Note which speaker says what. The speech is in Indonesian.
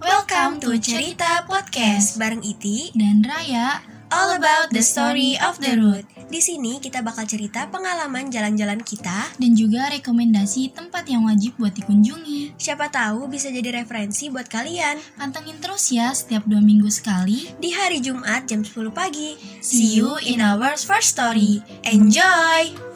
Speaker 1: to Cerita Podcast bareng Iti.
Speaker 2: dan Raya.
Speaker 1: All about the story of the road. Di sini kita bakal cerita pengalaman jalan-jalan kita.
Speaker 2: Dan juga rekomendasi tempat yang wajib buat dikunjungi.
Speaker 1: Siapa tahu bisa jadi referensi buat kalian
Speaker 2: Pantengin terus ya setiap dua minggu sekali.
Speaker 1: di hari Jumat jam 10 pagi.
Speaker 2: See you in
Speaker 1: our first story. Enjoy.